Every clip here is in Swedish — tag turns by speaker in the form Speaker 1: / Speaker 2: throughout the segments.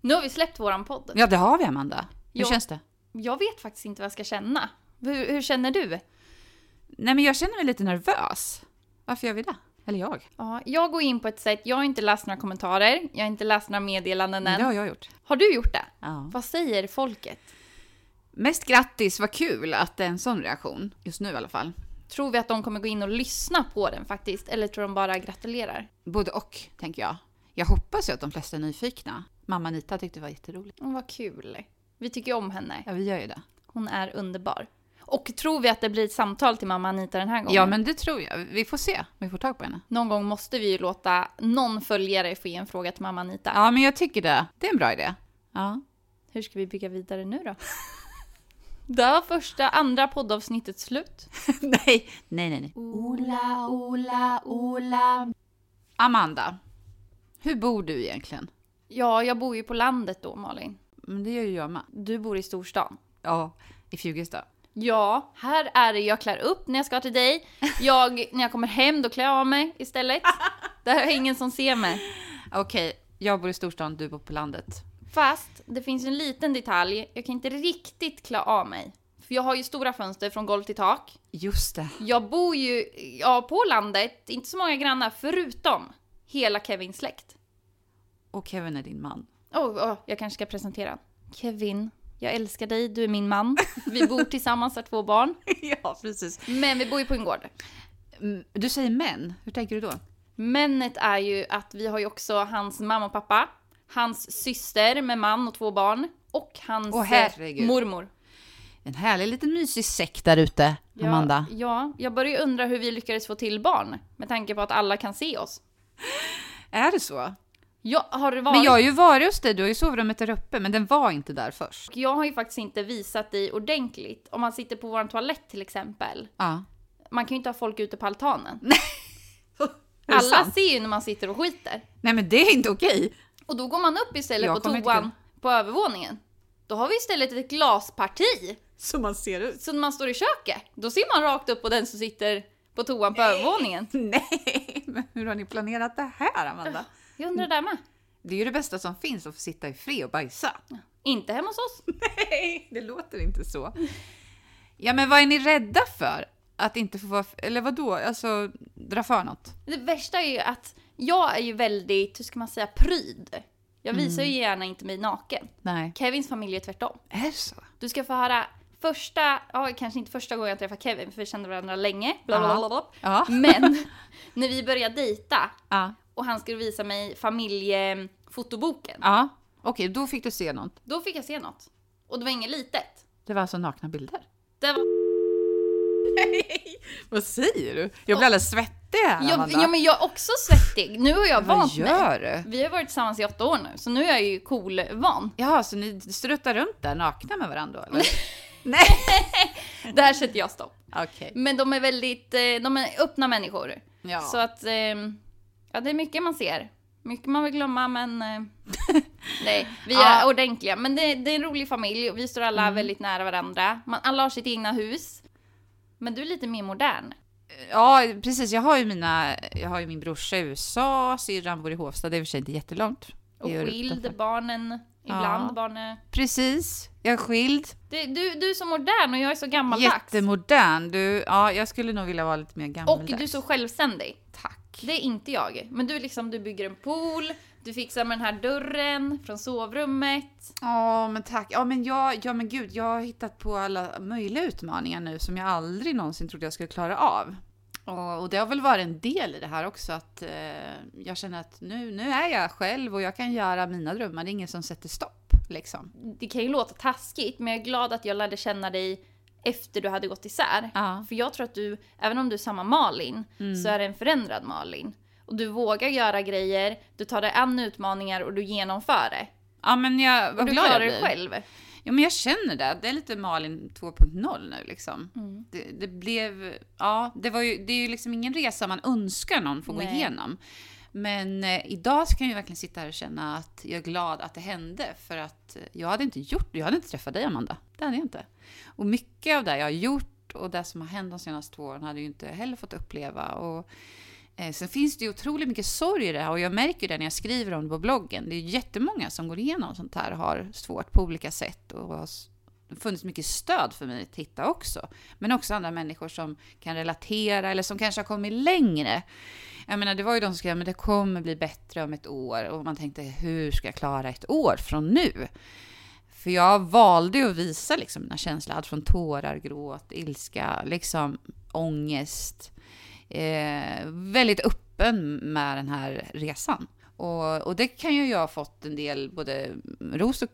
Speaker 1: Nu har vi släppt våran podd.
Speaker 2: Ja, det har vi Amanda. Hur
Speaker 1: Ja.
Speaker 2: känns det?
Speaker 1: Jag vet faktiskt inte vad jag ska känna. Hur, hur känner du?
Speaker 2: Nej, men jag känner mig lite nervös. Varför gör vi det? Eller jag.
Speaker 1: Ja, jag går in på ett sätt, jag har inte läst några kommentarer, jag har inte läst några meddelanden
Speaker 2: Men det
Speaker 1: än.
Speaker 2: har jag gjort.
Speaker 1: Har du gjort det?
Speaker 2: Ja.
Speaker 1: Vad säger folket?
Speaker 2: Mest grattis, vad kul att det är en sån reaktion. Just nu i alla fall.
Speaker 1: Tror vi att de kommer gå in och lyssna på den faktiskt? Eller tror de bara gratulerar?
Speaker 2: Både och, tänker jag. Jag hoppas ju att de flesta är nyfikna. Mamma Anita tyckte det var jätteroligt.
Speaker 1: Mm, vad kul. Vi tycker om henne.
Speaker 2: Ja, vi gör ju det.
Speaker 1: Hon är underbar. Och tror vi att det blir ett samtal till mamma Anita den här gången?
Speaker 2: Ja, men det tror jag. Vi får se om vi får tag på henne.
Speaker 1: Någon gång måste vi ju låta någon följare få ge en fråga till mamma Anita.
Speaker 2: Ja, men jag tycker det. Det är en bra idé. Ja.
Speaker 1: Hur ska vi bygga vidare nu då? Där var första, andra poddavsnittet slut.
Speaker 2: nej, nej, nej. nej.
Speaker 1: Ola, Ola, Ola.
Speaker 2: Amanda, hur bor du egentligen?
Speaker 1: Ja, jag bor ju på landet då Malin.
Speaker 2: Men det gör ju jag med.
Speaker 1: Du bor i storstan.
Speaker 2: Ja, i Fjugesta.
Speaker 1: Ja, här är det jag klär upp när jag ska till dig. Jag, när jag kommer hem då klär jag av mig istället. Där är ingen som ser mig.
Speaker 2: Okej, jag bor i storstan, du bor på landet.
Speaker 1: Fast det finns en liten detalj. Jag kan inte riktigt klä av mig. För jag har ju stora fönster från golv till tak.
Speaker 2: Just det.
Speaker 1: Jag bor ju ja, på landet, inte så många grannar förutom hela Kevins släkt.
Speaker 2: Och Kevin är din man.
Speaker 1: Åh, åh, jag kanske ska presentera. Kevin, jag älskar dig, du är min man. Vi bor tillsammans, har två barn.
Speaker 2: ja, precis.
Speaker 1: Men vi bor ju på en gård.
Speaker 2: Mm, Du säger män, hur tänker du då?
Speaker 1: Menet är ju att vi har ju också hans mamma och pappa, hans syster med man och två barn och hans
Speaker 2: Åh,
Speaker 1: eh,
Speaker 2: herregud.
Speaker 1: mormor.
Speaker 2: En härlig liten mysig säck där ute, Amanda.
Speaker 1: Ja, ja, jag börjar ju undra hur vi lyckades få till barn med tanke på att alla kan se oss.
Speaker 2: Är det så?
Speaker 1: Jag har det varit...
Speaker 2: Men jag har ju varit hos dig, du har ju sovrummet där uppe, men den var inte där först.
Speaker 1: Och jag har ju faktiskt inte visat dig ordentligt. Om man sitter på vår toalett till exempel.
Speaker 2: Ja.
Speaker 1: Man kan ju inte ha folk ute på altanen.
Speaker 2: Är det
Speaker 1: Alla
Speaker 2: sant?
Speaker 1: ser ju när man sitter och skiter.
Speaker 2: Nej men det är inte okej.
Speaker 1: Och då går man upp istället
Speaker 2: Jag
Speaker 1: på
Speaker 2: kommer inte
Speaker 1: toan på övervåningen. Då har vi istället ett glasparti.
Speaker 2: Som man ser ut.
Speaker 1: Så när man står i köket, då ser man rakt upp på den som sitter på toan på övervåningen.
Speaker 2: Nej, men hur har ni planerat det här Amanda?
Speaker 1: Jag undrar där med.
Speaker 2: Det är ju det bästa som finns att få sitta i fred och bajsa.
Speaker 1: Inte hemma hos oss.
Speaker 2: Nej, det låter inte så. Ja, men vad är ni rädda för? Att inte få vara, eller vad då? Alltså, dra för något?
Speaker 1: Det värsta är ju att jag är ju väldigt, hur ska man säga, pryd. Jag
Speaker 2: Mm.
Speaker 1: visar ju gärna inte mig naken.
Speaker 2: Nej.
Speaker 1: Kevins familj är tvärtom.
Speaker 2: Är det så?
Speaker 1: Du ska få höra första, ja kanske inte första gången jag träffar Kevin för vi kände varandra länge. Bla bla bla bla.
Speaker 2: Ja.
Speaker 1: Men när vi började dejta
Speaker 2: Ja.
Speaker 1: och han skulle visa mig familjefotoboken.
Speaker 2: ja. Okej, då fick du se något.
Speaker 1: Då fick jag se något. Och det var inget litet.
Speaker 2: Det var alltså nakna bilder.
Speaker 1: Det var,
Speaker 2: Vad säger du? Jag blir alldeles svettig här,
Speaker 1: jag,
Speaker 2: Amanda.
Speaker 1: ja men jag är också svettig. Nu har jag
Speaker 2: vad
Speaker 1: vant mig.
Speaker 2: gör du?
Speaker 1: Vi har varit tillsammans i åtta år nu så nu är jag ju cool van.
Speaker 2: Jaha, så ni struttar runt där nakna med varandra då, eller?
Speaker 1: Där sätter jag stopp.
Speaker 2: Okej.
Speaker 1: Men de är väldigt, eh, de är öppna människor.
Speaker 2: Ja.
Speaker 1: Så att, ehm, ja det är mycket man ser. Mycket man vill glömma men... eh, nej, vi är
Speaker 2: Ja. Mm.
Speaker 1: ordentliga. Men det, det är en rolig familj och vi står alla väldigt nära varandra. Man, alla har sitt egna hus. Men du är lite mer modern.
Speaker 2: Ja, precis. Jag har ju, mina, jag har ju min brorsa i USA, syrran bor i Hovsta. Det är i och för sig inte jättelångt.
Speaker 1: Och
Speaker 2: Det är ju
Speaker 1: skild,
Speaker 2: utanför.
Speaker 1: barnen ibland.
Speaker 2: Ja.
Speaker 1: Barn är,
Speaker 2: Precis. Jag är skild.
Speaker 1: du, du, du är så modern och jag är så gammaldags.
Speaker 2: Jättemodern. Du, ja, jag skulle nog vilja vara lite mer
Speaker 1: Och
Speaker 2: gammaldags.
Speaker 1: du är så självständig.
Speaker 2: Tack.
Speaker 1: Det är inte jag. Men du, är liksom, du bygger en pool, du fixar med den här dörren från sovrummet.
Speaker 2: Ja, men tack. Ja, men jag, ja, men gud, jag har hittat på alla möjliga utmaningar nu som jag aldrig någonsin trodde jag skulle klara av. Och, och det har väl varit en del i det här också att eh, jag känner att nu, nu är jag själv och jag kan göra mina drömmar. Det är ingen som sätter stopp liksom.
Speaker 1: det kan ju låta taskigt men jag är glad att jag lärde känna dig efter du hade gått isär.
Speaker 2: Ja.
Speaker 1: För jag tror att du, även om du är samma Malin,
Speaker 2: Mm.
Speaker 1: så är det en förändrad Malin. Och du vågar göra grejer, du tar dig an utmaningar och du genomför det.
Speaker 2: Ja, men jag
Speaker 1: Och
Speaker 2: var
Speaker 1: du
Speaker 2: glad
Speaker 1: klarar
Speaker 2: jag
Speaker 1: det
Speaker 2: blir.
Speaker 1: själv.
Speaker 2: Ja, men jag känner det. Det är lite Malin 2.0 nu liksom. Det, det blev, ja, det var ju, det är ju liksom ingen resa man önskar någon får gå
Speaker 1: Nej.
Speaker 2: igenom. Men eh, idag så kan jag ju verkligen sitta här och känna att jag är glad att det hände. För att eh, jag hade inte gjort, jag hade inte träffat dig Amanda. Det hade jag inte. Och mycket av det jag har gjort och det som har hänt de senaste två åren hade jag ju inte heller fått uppleva. Och Eh, Sen finns det ju otroligt mycket sorg i det här och jag märker det när jag skriver om det på bloggen. Det är ju jättemånga som går igenom sånt här och har svårt på olika sätt och har s- det har funnits mycket stöd för mig att hitta också. Men också andra människor som kan relatera eller som kanske har kommit längre. Jag menar, det var ju de som skrev men det kommer bli bättre om ett år och man tänkte hur ska jag klara ett år från nu? För jag valde ju att visa liksom mina känslor, allt från tårar, gråt, ilska, liksom ångest. Eh, väldigt öppen med den här resan. Och, och det kan ju jag ha fått en del både ros och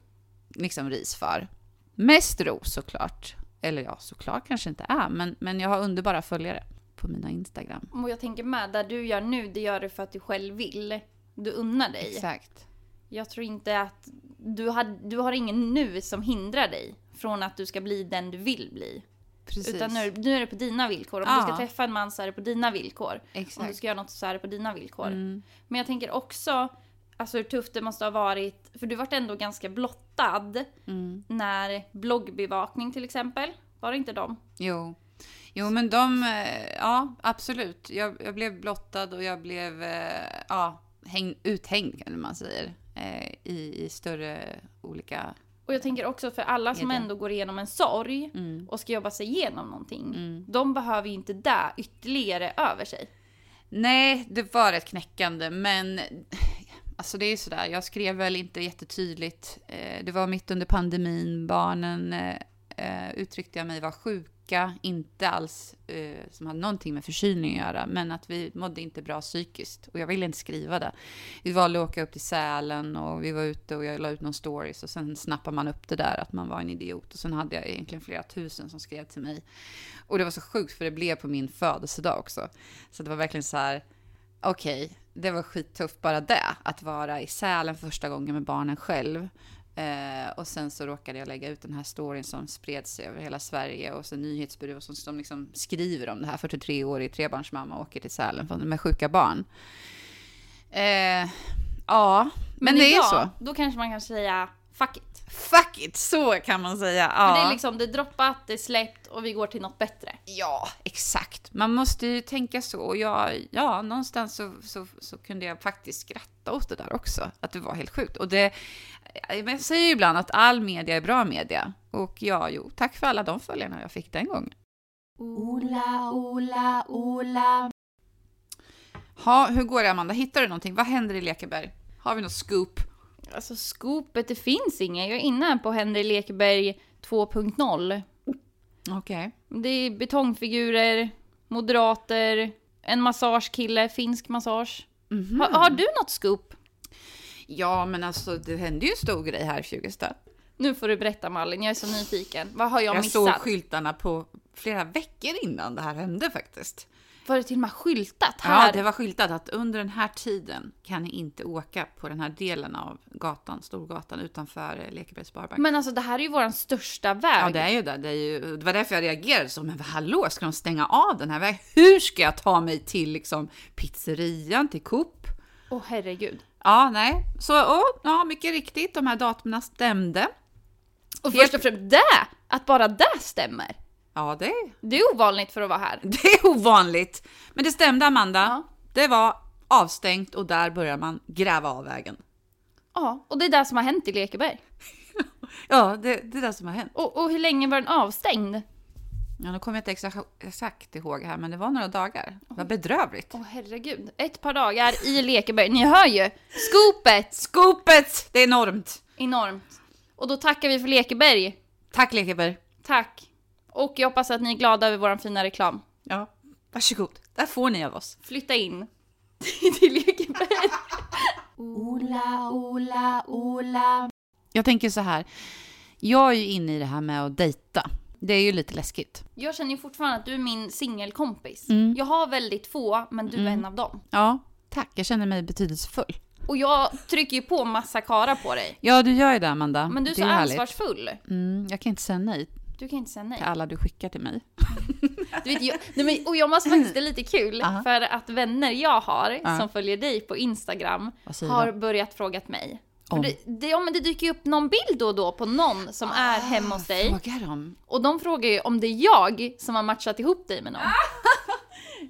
Speaker 2: liksom ris för. Mest ros såklart. Eller ja, såklart kanske inte är, men, men jag har underbara följare på mina Instagram.
Speaker 1: Och jag tänker med, där du gör nu, det gör du för att du själv vill. Du unnar dig.
Speaker 2: Exakt.
Speaker 1: Jag tror inte att... Du har, du har ingen nu som hindrar dig från att du ska bli den du vill bli.
Speaker 2: Precis.
Speaker 1: Utan nu, nu är det på dina villkor. Om
Speaker 2: Ja.
Speaker 1: du ska träffa en man så är det på dina villkor. Om du
Speaker 2: Exakt.
Speaker 1: ska göra något så är det på dina villkor.
Speaker 2: Mm.
Speaker 1: Men jag tänker också alltså hur tufft det måste ha varit. För du vart ändå ganska blottad
Speaker 2: Mm.
Speaker 1: när bloggbevakning till exempel. Var det inte dem?
Speaker 2: Jo. Jo, men de... eh, Ja, absolut. Jag, jag blev blottad och jag blev eh, ja, häng, uthängd, eller man säger, eh, i, i större olika...
Speaker 1: Och jag tänker också för alla som
Speaker 2: Media.
Speaker 1: ändå går igenom en sorg
Speaker 2: Mm.
Speaker 1: och ska jobba sig igenom någonting.
Speaker 2: Mm.
Speaker 1: De behöver ju inte det ytterligare över sig.
Speaker 2: Nej, det var rätt knäckande, men alltså det är ju sådär. Jag skrev väl inte jättetydligt. Eh, Det var mitt under pandemin, barnen eh, eh, uttryckte jag mig var sjuka, inte alls eh, som hade någonting med förkylning att göra, men att vi mådde inte bra psykiskt och jag ville inte skriva det. Vi valde att åka upp till Sälen och vi var ute och jag la ut någon stories och sen snappade man upp det där att man var en idiot och sen hade jag egentligen flera tusen som skrev till mig. Och det var så sjukt för det blev på min födelsedag också. Så det var verkligen så här, okej, det var skittufft bara det. Att vara i Sälen första gången med barnen själv. Eh, och sen så råkade jag lägga ut den här storyn som spred sig över hela Sverige och sen nyhetsbyråer som, som liksom skriver om det här. 43-årig trebarnsmamma åker till Sälen för- med sjuka barn. Eh, ja, men, det är ju
Speaker 1: idag,
Speaker 2: så.
Speaker 1: Då kanske man kan säga fuck it.
Speaker 2: Fuck it, så kan man säga. Ja.
Speaker 1: För det är liksom, det är droppat, det är släppt och vi går till något bättre.
Speaker 2: Ja, exakt. Man måste ju tänka så. Och jag, ja, någonstans så, så, så kunde jag faktiskt skratta åt det där också. Att det var helt sjukt. Och det, men jag säger ju ibland att all media är bra media. Och ja, jo, tack för alla de följarna jag fick den gången.
Speaker 1: Ola, Ola, Ola.
Speaker 2: Ha, hur går det Amanda? Hittar du någonting? Vad händer i Lekeberg? Har vi något scoop?
Speaker 1: Alltså skopet, det finns inget. Jag är inne här på Henry Lekeberg 2.0.
Speaker 2: Okej.
Speaker 1: Det är betongfigurer, moderater, en massagekille, finsk massage.
Speaker 2: Mhm.
Speaker 1: Ha, har du något scoop?
Speaker 2: Ja, men alltså det hände ju en stor grej här i Fjugesta.
Speaker 1: Nu får du berätta Malin, jag är så nyfiken. Vad har jag,
Speaker 2: Jag, såg
Speaker 1: missat?
Speaker 2: skyltarna på flera veckor innan det här hände faktiskt.
Speaker 1: Var det till och med skyltat här?
Speaker 2: Ja, det var skyltat att under den här tiden kan ni inte åka på den här delen av gatan, Storgatan utanför eh, Lekebergs sparbank.
Speaker 1: Men alltså det här är ju våran största väg.
Speaker 2: Ja, det är ju det. Det, är ju, det var därför jag reagerade så, men vad hallå, ska de stänga av den här vägen? Hur ska jag ta mig till liksom pizzerian, till Coop?
Speaker 1: Åh herregud.
Speaker 2: Ja, nej. Så åh, ja, mycket riktigt, de här datumen stämde.
Speaker 1: Och
Speaker 2: Helt-
Speaker 1: först och främst det! Att bara det stämmer.
Speaker 2: Ja, det,
Speaker 1: Det är ovanligt för att vara här.
Speaker 2: det är ovanligt. Men det stämde, Amanda.
Speaker 1: Ja.
Speaker 2: Det var avstängt och där börjar man gräva av vägen.
Speaker 1: Ja, och det är det som har hänt i Lekeberg.
Speaker 2: Ja, det, det är det som har hänt.
Speaker 1: Och, och hur länge var den avstängd?
Speaker 2: Ja, nu kommer jag inte exa- exakt ihåg här, men det var några dagar. Det var bedrövligt.
Speaker 1: Åh herregud. Ett par dagar i Lekeberg. Ni hör ju! Skopet!
Speaker 2: Skopet! Det är enormt!
Speaker 1: Enormt. Och då tackar vi för Lekeberg.
Speaker 2: Tack Lekeberg!
Speaker 1: Tack. Och jag hoppas att ni är glada över vår fina reklam.
Speaker 2: Ja, varsågod. Där får ni av oss.
Speaker 1: Flytta in till Lekeberg. Ola, Ola, Ola.
Speaker 2: Jag tänker så här. Jag är ju inne i det här med att dejta. Det är ju lite läskigt.
Speaker 1: Jag känner ju fortfarande att du är min singelkompis.
Speaker 2: Mm.
Speaker 1: Jag har väldigt få, men du är en av dem.
Speaker 2: Ja, tack. Jag känner mig betydelsefull.
Speaker 1: Och jag trycker ju på massa kara på dig.
Speaker 2: Ja, du gör ju det Amanda.
Speaker 1: Men du är
Speaker 2: det
Speaker 1: så
Speaker 2: ju härligt.
Speaker 1: ansvarsfull.
Speaker 2: Mm, jag kan inte säga nej
Speaker 1: Du kan inte säga nej.
Speaker 2: till alla du skickar till mig.
Speaker 1: Du vet, jag, nej men, och jag måste faktiskt, det är lite kul,
Speaker 2: Aha.
Speaker 1: för att vänner jag har
Speaker 2: Ja.
Speaker 1: som följer dig på Instagram
Speaker 2: Vad säger
Speaker 1: har
Speaker 2: de?
Speaker 1: börjat fråga mig. För
Speaker 2: Om?
Speaker 1: Det, det, ja, men det dyker ju upp någon bild då och då på någon som
Speaker 2: Ah,
Speaker 1: är hemma hos dig.
Speaker 2: Frågar de? Ah!
Speaker 1: Och de frågar ju om det är jag som har matchat ihop dig med någon.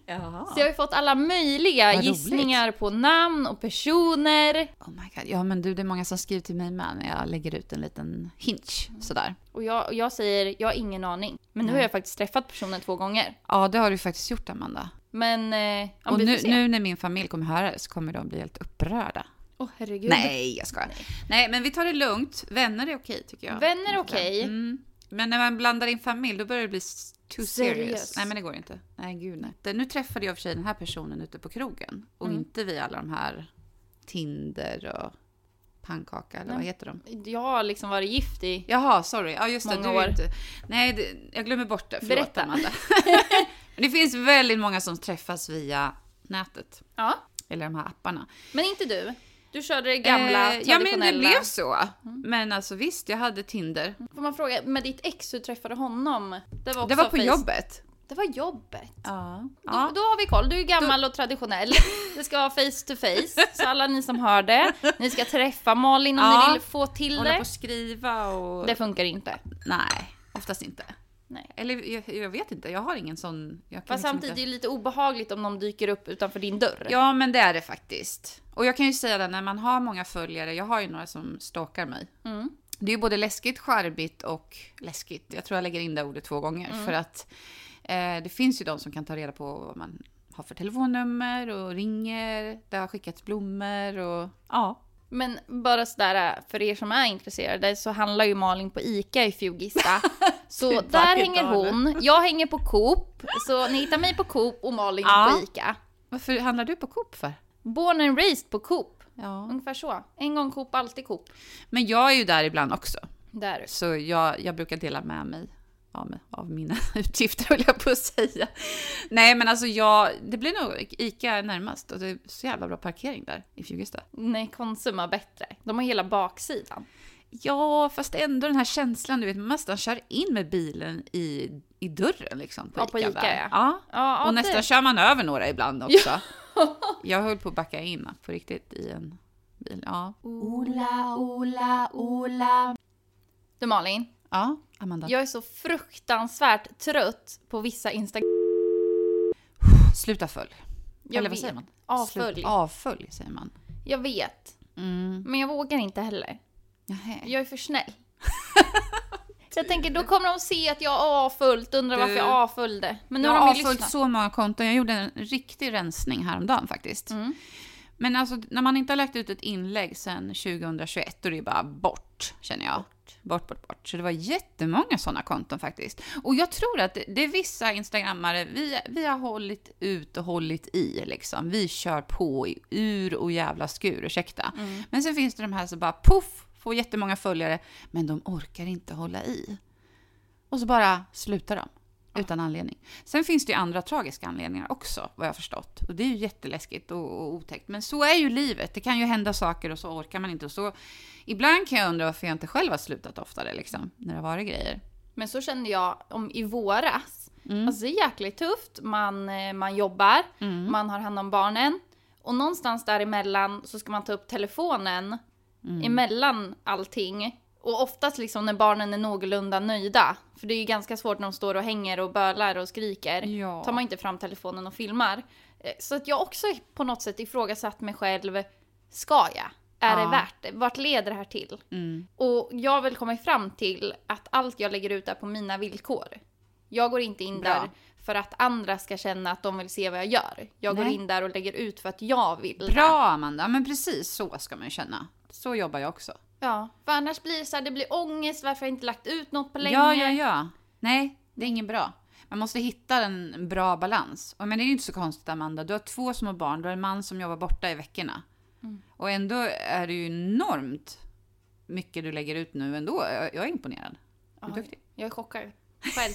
Speaker 2: Jaha.
Speaker 1: Så jag har ju fått alla möjliga
Speaker 2: Vad roligt.
Speaker 1: gissningar på namn och personer.
Speaker 2: Oh my god. Ja men du, det är många som skriver till mig med när jag lägger ut en liten hinch sådär.
Speaker 1: Och jag, och jag säger, jag har ingen aning. Men nu har jag faktiskt träffat personen två gånger.
Speaker 2: Ja, det har du faktiskt gjort Amanda.
Speaker 1: Men, eh, ja,
Speaker 2: Och
Speaker 1: vi får
Speaker 2: nu,
Speaker 1: se.
Speaker 2: nu när min familj kommer höra det så kommer de bli helt upprörda.
Speaker 1: Åh herregud.
Speaker 2: Nej, jag skojar. Nej. men vi tar det lugnt. Vänner är okej tycker jag.
Speaker 1: Vänner är okej.
Speaker 2: Mm. Men när man blandar in familj då börjar det bli s- too serious.
Speaker 1: Serious.
Speaker 2: Nej men det går inte. Nej gud nej. Det- Nu träffade jag i och för sig den här personen ute på krogen och inte vi alla de här Tinder och pannkaka eller vad heter de?
Speaker 1: Jag har liksom varit gift i...
Speaker 2: Jaha, sorry. Ja just det,
Speaker 1: Många
Speaker 2: du är
Speaker 1: år.
Speaker 2: inte... Nej, det, jag glömmer bort det. Förlåt,
Speaker 1: Berätta.
Speaker 2: Amanda. det finns väldigt många som träffas via nätet.
Speaker 1: Ja.
Speaker 2: Eller de här apparna.
Speaker 1: Men inte du. Du körde det gamla,
Speaker 2: Eh, ja
Speaker 1: traditionella.
Speaker 2: men det blev så. Men alltså visst, jag hade Tinder.
Speaker 1: Får man fråga, med ditt ex, hur träffade du honom? Det var, också
Speaker 2: Det var på
Speaker 1: face-
Speaker 2: jobbet.
Speaker 1: Det var jobbet.
Speaker 2: Ja.
Speaker 1: Då, då har vi koll. Du är gammal och traditionell. Det ska vara face to face. Så alla ni som hör det, ni ska träffa Malin om
Speaker 2: Ja.
Speaker 1: ni vill få till
Speaker 2: Hålla på Liksom
Speaker 1: det.
Speaker 2: och skriva och...
Speaker 1: Det funkar inte.
Speaker 2: Nej, oftast inte.
Speaker 1: Nej.
Speaker 2: Eller jag, jag vet inte, jag har ingen sån... Jag kan
Speaker 1: Fast
Speaker 2: liksom
Speaker 1: samtidigt är
Speaker 2: inte...
Speaker 1: det lite obehagligt om någon dyker upp utanför din dörr.
Speaker 2: Ja men det är det faktiskt. Och jag kan ju säga det, när man har många följare, jag har ju några som stalkar mig.
Speaker 1: Mm.
Speaker 2: Det är ju både läskigt, charmigt och läskigt. Jag tror jag lägger in det ordet två gånger. För att eh, det finns ju de som kan ta reda på vad man har för telefonnummer och ringer. Det har skickats blommor och... Ja.
Speaker 1: Men bara sådär äh, för er som är intresserade så handlar ju Malin på ICA i Fjugista. Så
Speaker 2: Typ
Speaker 1: där
Speaker 2: varje
Speaker 1: hänger
Speaker 2: dag, eller?
Speaker 1: hon, jag hänger på Coop. Så ni hittar mig på Coop och Malin
Speaker 2: Ja.
Speaker 1: på ICA.
Speaker 2: Varför handlar du på Coop för?
Speaker 1: Born and raised på Coop.
Speaker 2: Ja.
Speaker 1: Ungefär så. En gång Coop, alltid Coop.
Speaker 2: Men jag är ju där ibland också.
Speaker 1: Där.
Speaker 2: Så jag, jag brukar dela med mig av, av mina utgifter, höll jag på att säga. Nej, men alltså jag, det blir nog ICA närmast och det är så jävla bra parkering där i Fjugesta.
Speaker 1: Nej, Konsum har bättre. De har hela baksidan.
Speaker 2: Ja, fast ändå den här känslan, du vet, man nästan kör in med bilen i, i dörren liksom. På
Speaker 1: Ja, på Ica,
Speaker 2: där.
Speaker 1: ja.
Speaker 2: ja.
Speaker 1: Ja,
Speaker 2: Och
Speaker 1: det-
Speaker 2: nästan kör man över några ibland också. Jag höll på att backa in på riktigt i en bil. Ja,
Speaker 1: Du Malin,
Speaker 2: ja Amanda.
Speaker 1: jag är så fruktansvärt trött på vissa Instagram...
Speaker 2: Sluta följ.
Speaker 1: Jag
Speaker 2: Eller vad
Speaker 1: vet.
Speaker 2: säger man?
Speaker 1: Avfölj.
Speaker 2: Sluta- Avfölj säger man.
Speaker 1: Jag vet.
Speaker 2: Mm.
Speaker 1: Men jag vågar inte heller.
Speaker 2: Nähä.
Speaker 1: Jag är för snäll. Så jag tänker, då kommer de se att jag har avfullt, undrar
Speaker 2: Du-
Speaker 1: varför jag avföljde. Men nu
Speaker 2: Jag
Speaker 1: har
Speaker 2: har
Speaker 1: de ju
Speaker 2: avföljt
Speaker 1: lyssnat.
Speaker 2: så många konton. Jag gjorde en riktig rensning häromdagen faktiskt.
Speaker 1: Mm.
Speaker 2: Men alltså, när man inte har lagt ut ett inlägg sedan 2021, då är det bara bort, känner jag. Bort, bort, bort. Så det var jättemånga sådana konton faktiskt. Och jag tror att det, det är vissa instagrammare, vi, vi har hållit ut och hållit i liksom. Vi kör på i ur och jävla skur, ursäkta. Men sen finns det de här som bara poff, får jättemånga följare, men de orkar inte hålla i. Och så bara slutar de. Utan anledning. Sen finns det ju andra tragiska anledningar också, vad jag har förstått. Och det är ju jätteläskigt och, och otäckt. Men så är ju livet. Det kan ju hända saker och så orkar man inte. Och så, ibland kan jag undra varför jag inte själv har slutat oftare, liksom, när det har varit grejer.
Speaker 1: Men så kände jag om i våras.
Speaker 2: Mm.
Speaker 1: Alltså det är jäkligt tufft, man, eh, man jobbar,
Speaker 2: Mm.
Speaker 1: man har hand om barnen. Och någonstans däremellan så ska man ta upp telefonen
Speaker 2: Mm.
Speaker 1: emellan allting. Och oftast liksom när barnen är någorlunda nöjda. För det är ju ganska svårt när de står och hänger och bölar och skriker.
Speaker 2: Ja.
Speaker 1: Tar man inte fram telefonen och filmar. Eh, Så att jag också på något sätt ifrågasatt mig själv. Ska jag? Är
Speaker 2: Ja.
Speaker 1: det värt det? Vart leder det här till?
Speaker 2: Mm.
Speaker 1: Och jag vill komma fram till att allt jag lägger ut är på mina villkor. Jag går inte in
Speaker 2: Bra.
Speaker 1: där för att andra ska känna att de vill se vad jag gör. Jag går
Speaker 2: Nej.
Speaker 1: in där och lägger ut för att jag vill det.
Speaker 2: Bra, Amanda! Men precis så ska man ju känna. Så jobbar jag också.
Speaker 1: Ja, för annars blir det så här, det blir ångest varför jag inte lagt ut något på länge.
Speaker 2: Ja, ja, ja. Nej, det är ingen bra. Man måste hitta en bra balans. Och men det är ju inte så konstigt Amanda, du har två små barn, du har en man som jobbar borta i veckorna.
Speaker 1: Mm.
Speaker 2: Och ändå är det ju enormt mycket du lägger ut nu ändå. Jag jag är imponerad. Du är
Speaker 1: Oj.
Speaker 2: duktig.
Speaker 1: Jag är chockad själv.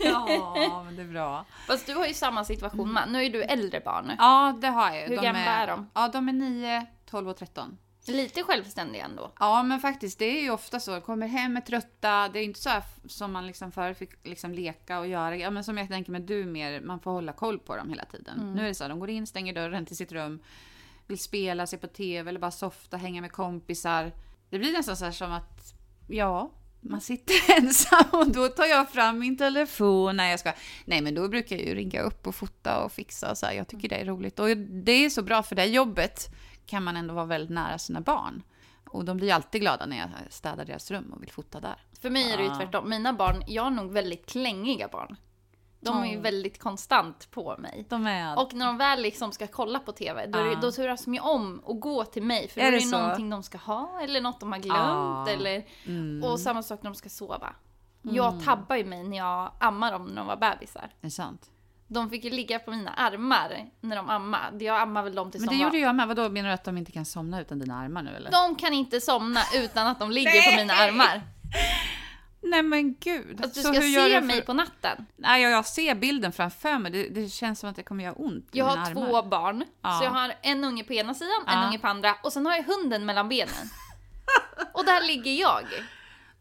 Speaker 2: ja, men det är bra.
Speaker 1: Fast du har ju samma situation man. Nu är du äldre barn.
Speaker 2: Mm. Ja, det har jag ju.
Speaker 1: Hur gamla är de?
Speaker 2: Ja, de är 9, 12 och 13.
Speaker 1: Lite självständig ändå.
Speaker 2: Ja, men faktiskt, det är ju ofta så. Kommer hem är trötta. Det är inte så här f- som man liksom förr fick liksom leka och göra. Ja, men som jag tänker med du mer, man får hålla koll på dem hela tiden. Nu är det så här, de går in, stänger dörren till sitt rum, vill spela, se på TV eller bara softa, hänga med kompisar. Det blir nästan så här som att, ja, man sitter ensam och då tar jag fram min telefon. Nej, jag ska. Nej, men då brukar jag ju ringa upp och fota och fixa och så här. Jag tycker det är roligt. Och det är så bra för det jobbet kan man ändå vara väldigt nära sina barn. Och de blir alltid glada när jag städar deras rum och vill fota där.
Speaker 1: För mig är det ju
Speaker 2: Ah.
Speaker 1: tvärtom. Mina barn, jag har nog väldigt klängiga barn. De är ju
Speaker 2: Oh.
Speaker 1: väldigt konstant på mig.
Speaker 2: De är...
Speaker 1: Och när de väl liksom ska kolla på TV, då, är det,
Speaker 2: Ah.
Speaker 1: då turas de ju om och går till mig. För då
Speaker 2: Är
Speaker 1: är det
Speaker 2: det
Speaker 1: ju
Speaker 2: så?
Speaker 1: någonting de ska ha eller något de har glömt.
Speaker 2: Ah.
Speaker 1: Eller,
Speaker 2: mm,
Speaker 1: och samma sak när de ska sova. Jag tabbar ju mig när jag ammar dem när de var bebisar.
Speaker 2: det är sant.
Speaker 1: De fick ju ligga på mina armar när de ammade. Jag ammar väl dem tills
Speaker 2: Men det
Speaker 1: de
Speaker 2: gjorde
Speaker 1: var...
Speaker 2: jag med. Vadå, menar du att de inte kan somna utan dina armar nu eller?
Speaker 1: De kan inte somna utan att de ligger på mina armar.
Speaker 2: Nej men gud.
Speaker 1: Att du
Speaker 2: Så
Speaker 1: ska
Speaker 2: hur gör
Speaker 1: se
Speaker 2: för-
Speaker 1: mig på natten.
Speaker 2: Nej, jag, jag ser bilden framför mig. Det, det känns som att det kommer göra ont i
Speaker 1: Jag har
Speaker 2: mina armar.
Speaker 1: två barn.
Speaker 2: Ja.
Speaker 1: Så jag har en unge på ena sidan, en
Speaker 2: Ja.
Speaker 1: unge på andra och sen har jag hunden mellan benen. och där ligger jag.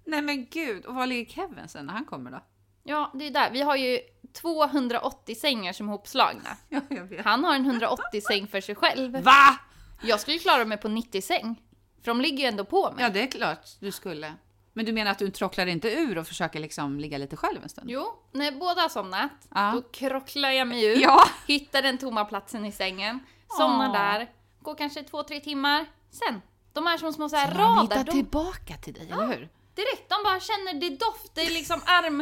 Speaker 2: Nej men gud. Och var ligger Kevin sen när han kommer då?
Speaker 1: Ja, det är där. Vi har ju 280 sängar som är hopslagna.
Speaker 2: Ja, jag vet.
Speaker 1: Han har en 180 säng för sig själv.
Speaker 2: Va?
Speaker 1: Jag skulle klara mig på 90 säng. För de ligger ju ändå på mig.
Speaker 2: Ja, det är klart du skulle. Men du menar att du trocklar inte ur och försöker liksom ligga lite själv en stund?
Speaker 1: Jo, när båda har somnat,
Speaker 2: Ja.
Speaker 1: då krocklar jag mig ut,
Speaker 2: Ja.
Speaker 1: hittar den tomma platsen i sängen, somnar
Speaker 2: Åh.
Speaker 1: där, går kanske två, tre timmar. Sen, de är som små så här
Speaker 2: Sen har de
Speaker 1: radar,
Speaker 2: hittat
Speaker 1: de,
Speaker 2: tillbaka till dig, eller hur?
Speaker 1: direkt, de bara känner det doft, det är liksom arm,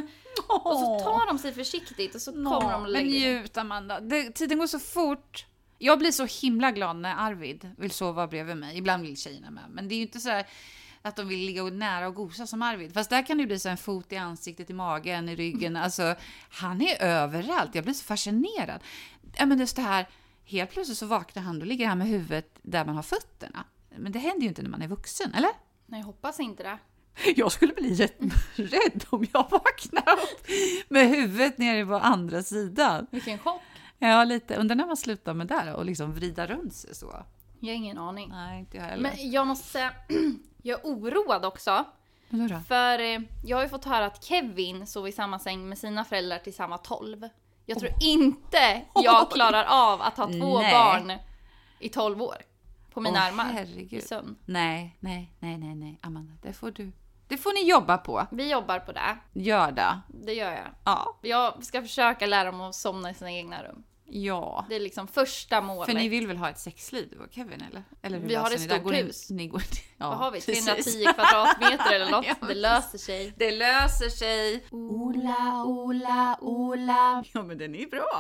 Speaker 1: och så tar de sig försiktigt och så kommer de och
Speaker 2: Men
Speaker 1: lägger sig.
Speaker 2: njut Amanda, det, tiden går så fort. Jag blir så himla glad när Arvid vill sova bredvid mig. Ibland vill tjejerna med, men det är ju inte så här att de vill ligga och nära och gosa som Arvid. Fast där kan det ju bli så här en fot i ansiktet, i magen, i ryggen. Alltså, han är överallt. Jag blir så fascinerad. Ja, men just det här, helt plötsligt så vaknar han, då ligger han med huvudet där man har fötterna. Men det händer ju inte när man är vuxen, eller?
Speaker 1: Nej, jag hoppas inte det.
Speaker 2: Jag skulle bli jätterädd om jag vaknar upp med huvudet nere på andra sidan.
Speaker 1: Vilken chock.
Speaker 2: Ja, lite. Undrar när man slutar med det då, och liksom vrida runt sig så.
Speaker 1: Jag har ingen aning.
Speaker 2: Nej, inte jag heller.
Speaker 1: Men jag måste säga, jag är oroad också.
Speaker 2: Men, då då?
Speaker 1: För eh, jag har ju fått höra att Kevin sov i samma säng med sina föräldrar till samma tolv. Jag tror inte jag klarar av att ha två
Speaker 2: Nej.
Speaker 1: barn i 12 år på mina
Speaker 2: Åh,
Speaker 1: armar i
Speaker 2: Herregud.
Speaker 1: sömn.
Speaker 2: Nej, nej, nej, nej, nej, Amanda, det får du. Det får ni jobba på.
Speaker 1: Vi jobbar på det,
Speaker 2: Gör det.
Speaker 1: det gör jag.
Speaker 2: Ja.
Speaker 1: Jag ska försöka lära dem att somna i sina egna rum.
Speaker 2: Ja.
Speaker 1: Det är liksom första målet.
Speaker 2: För ni vill väl ha ett sexliv du och Kevin eller? eller hur
Speaker 1: Vi har
Speaker 2: löser
Speaker 1: ett
Speaker 2: ni det?
Speaker 1: stort
Speaker 2: Går ni-
Speaker 1: hus.
Speaker 2: Ni går, ja,
Speaker 1: Vad har vi?
Speaker 2: precis.
Speaker 1: 310 kvadratmeter eller något?
Speaker 2: Ja,
Speaker 1: Det
Speaker 2: precis.
Speaker 1: löser sig.
Speaker 2: Det löser sig. Ola, Ola, Ola. Ja, men den är bra.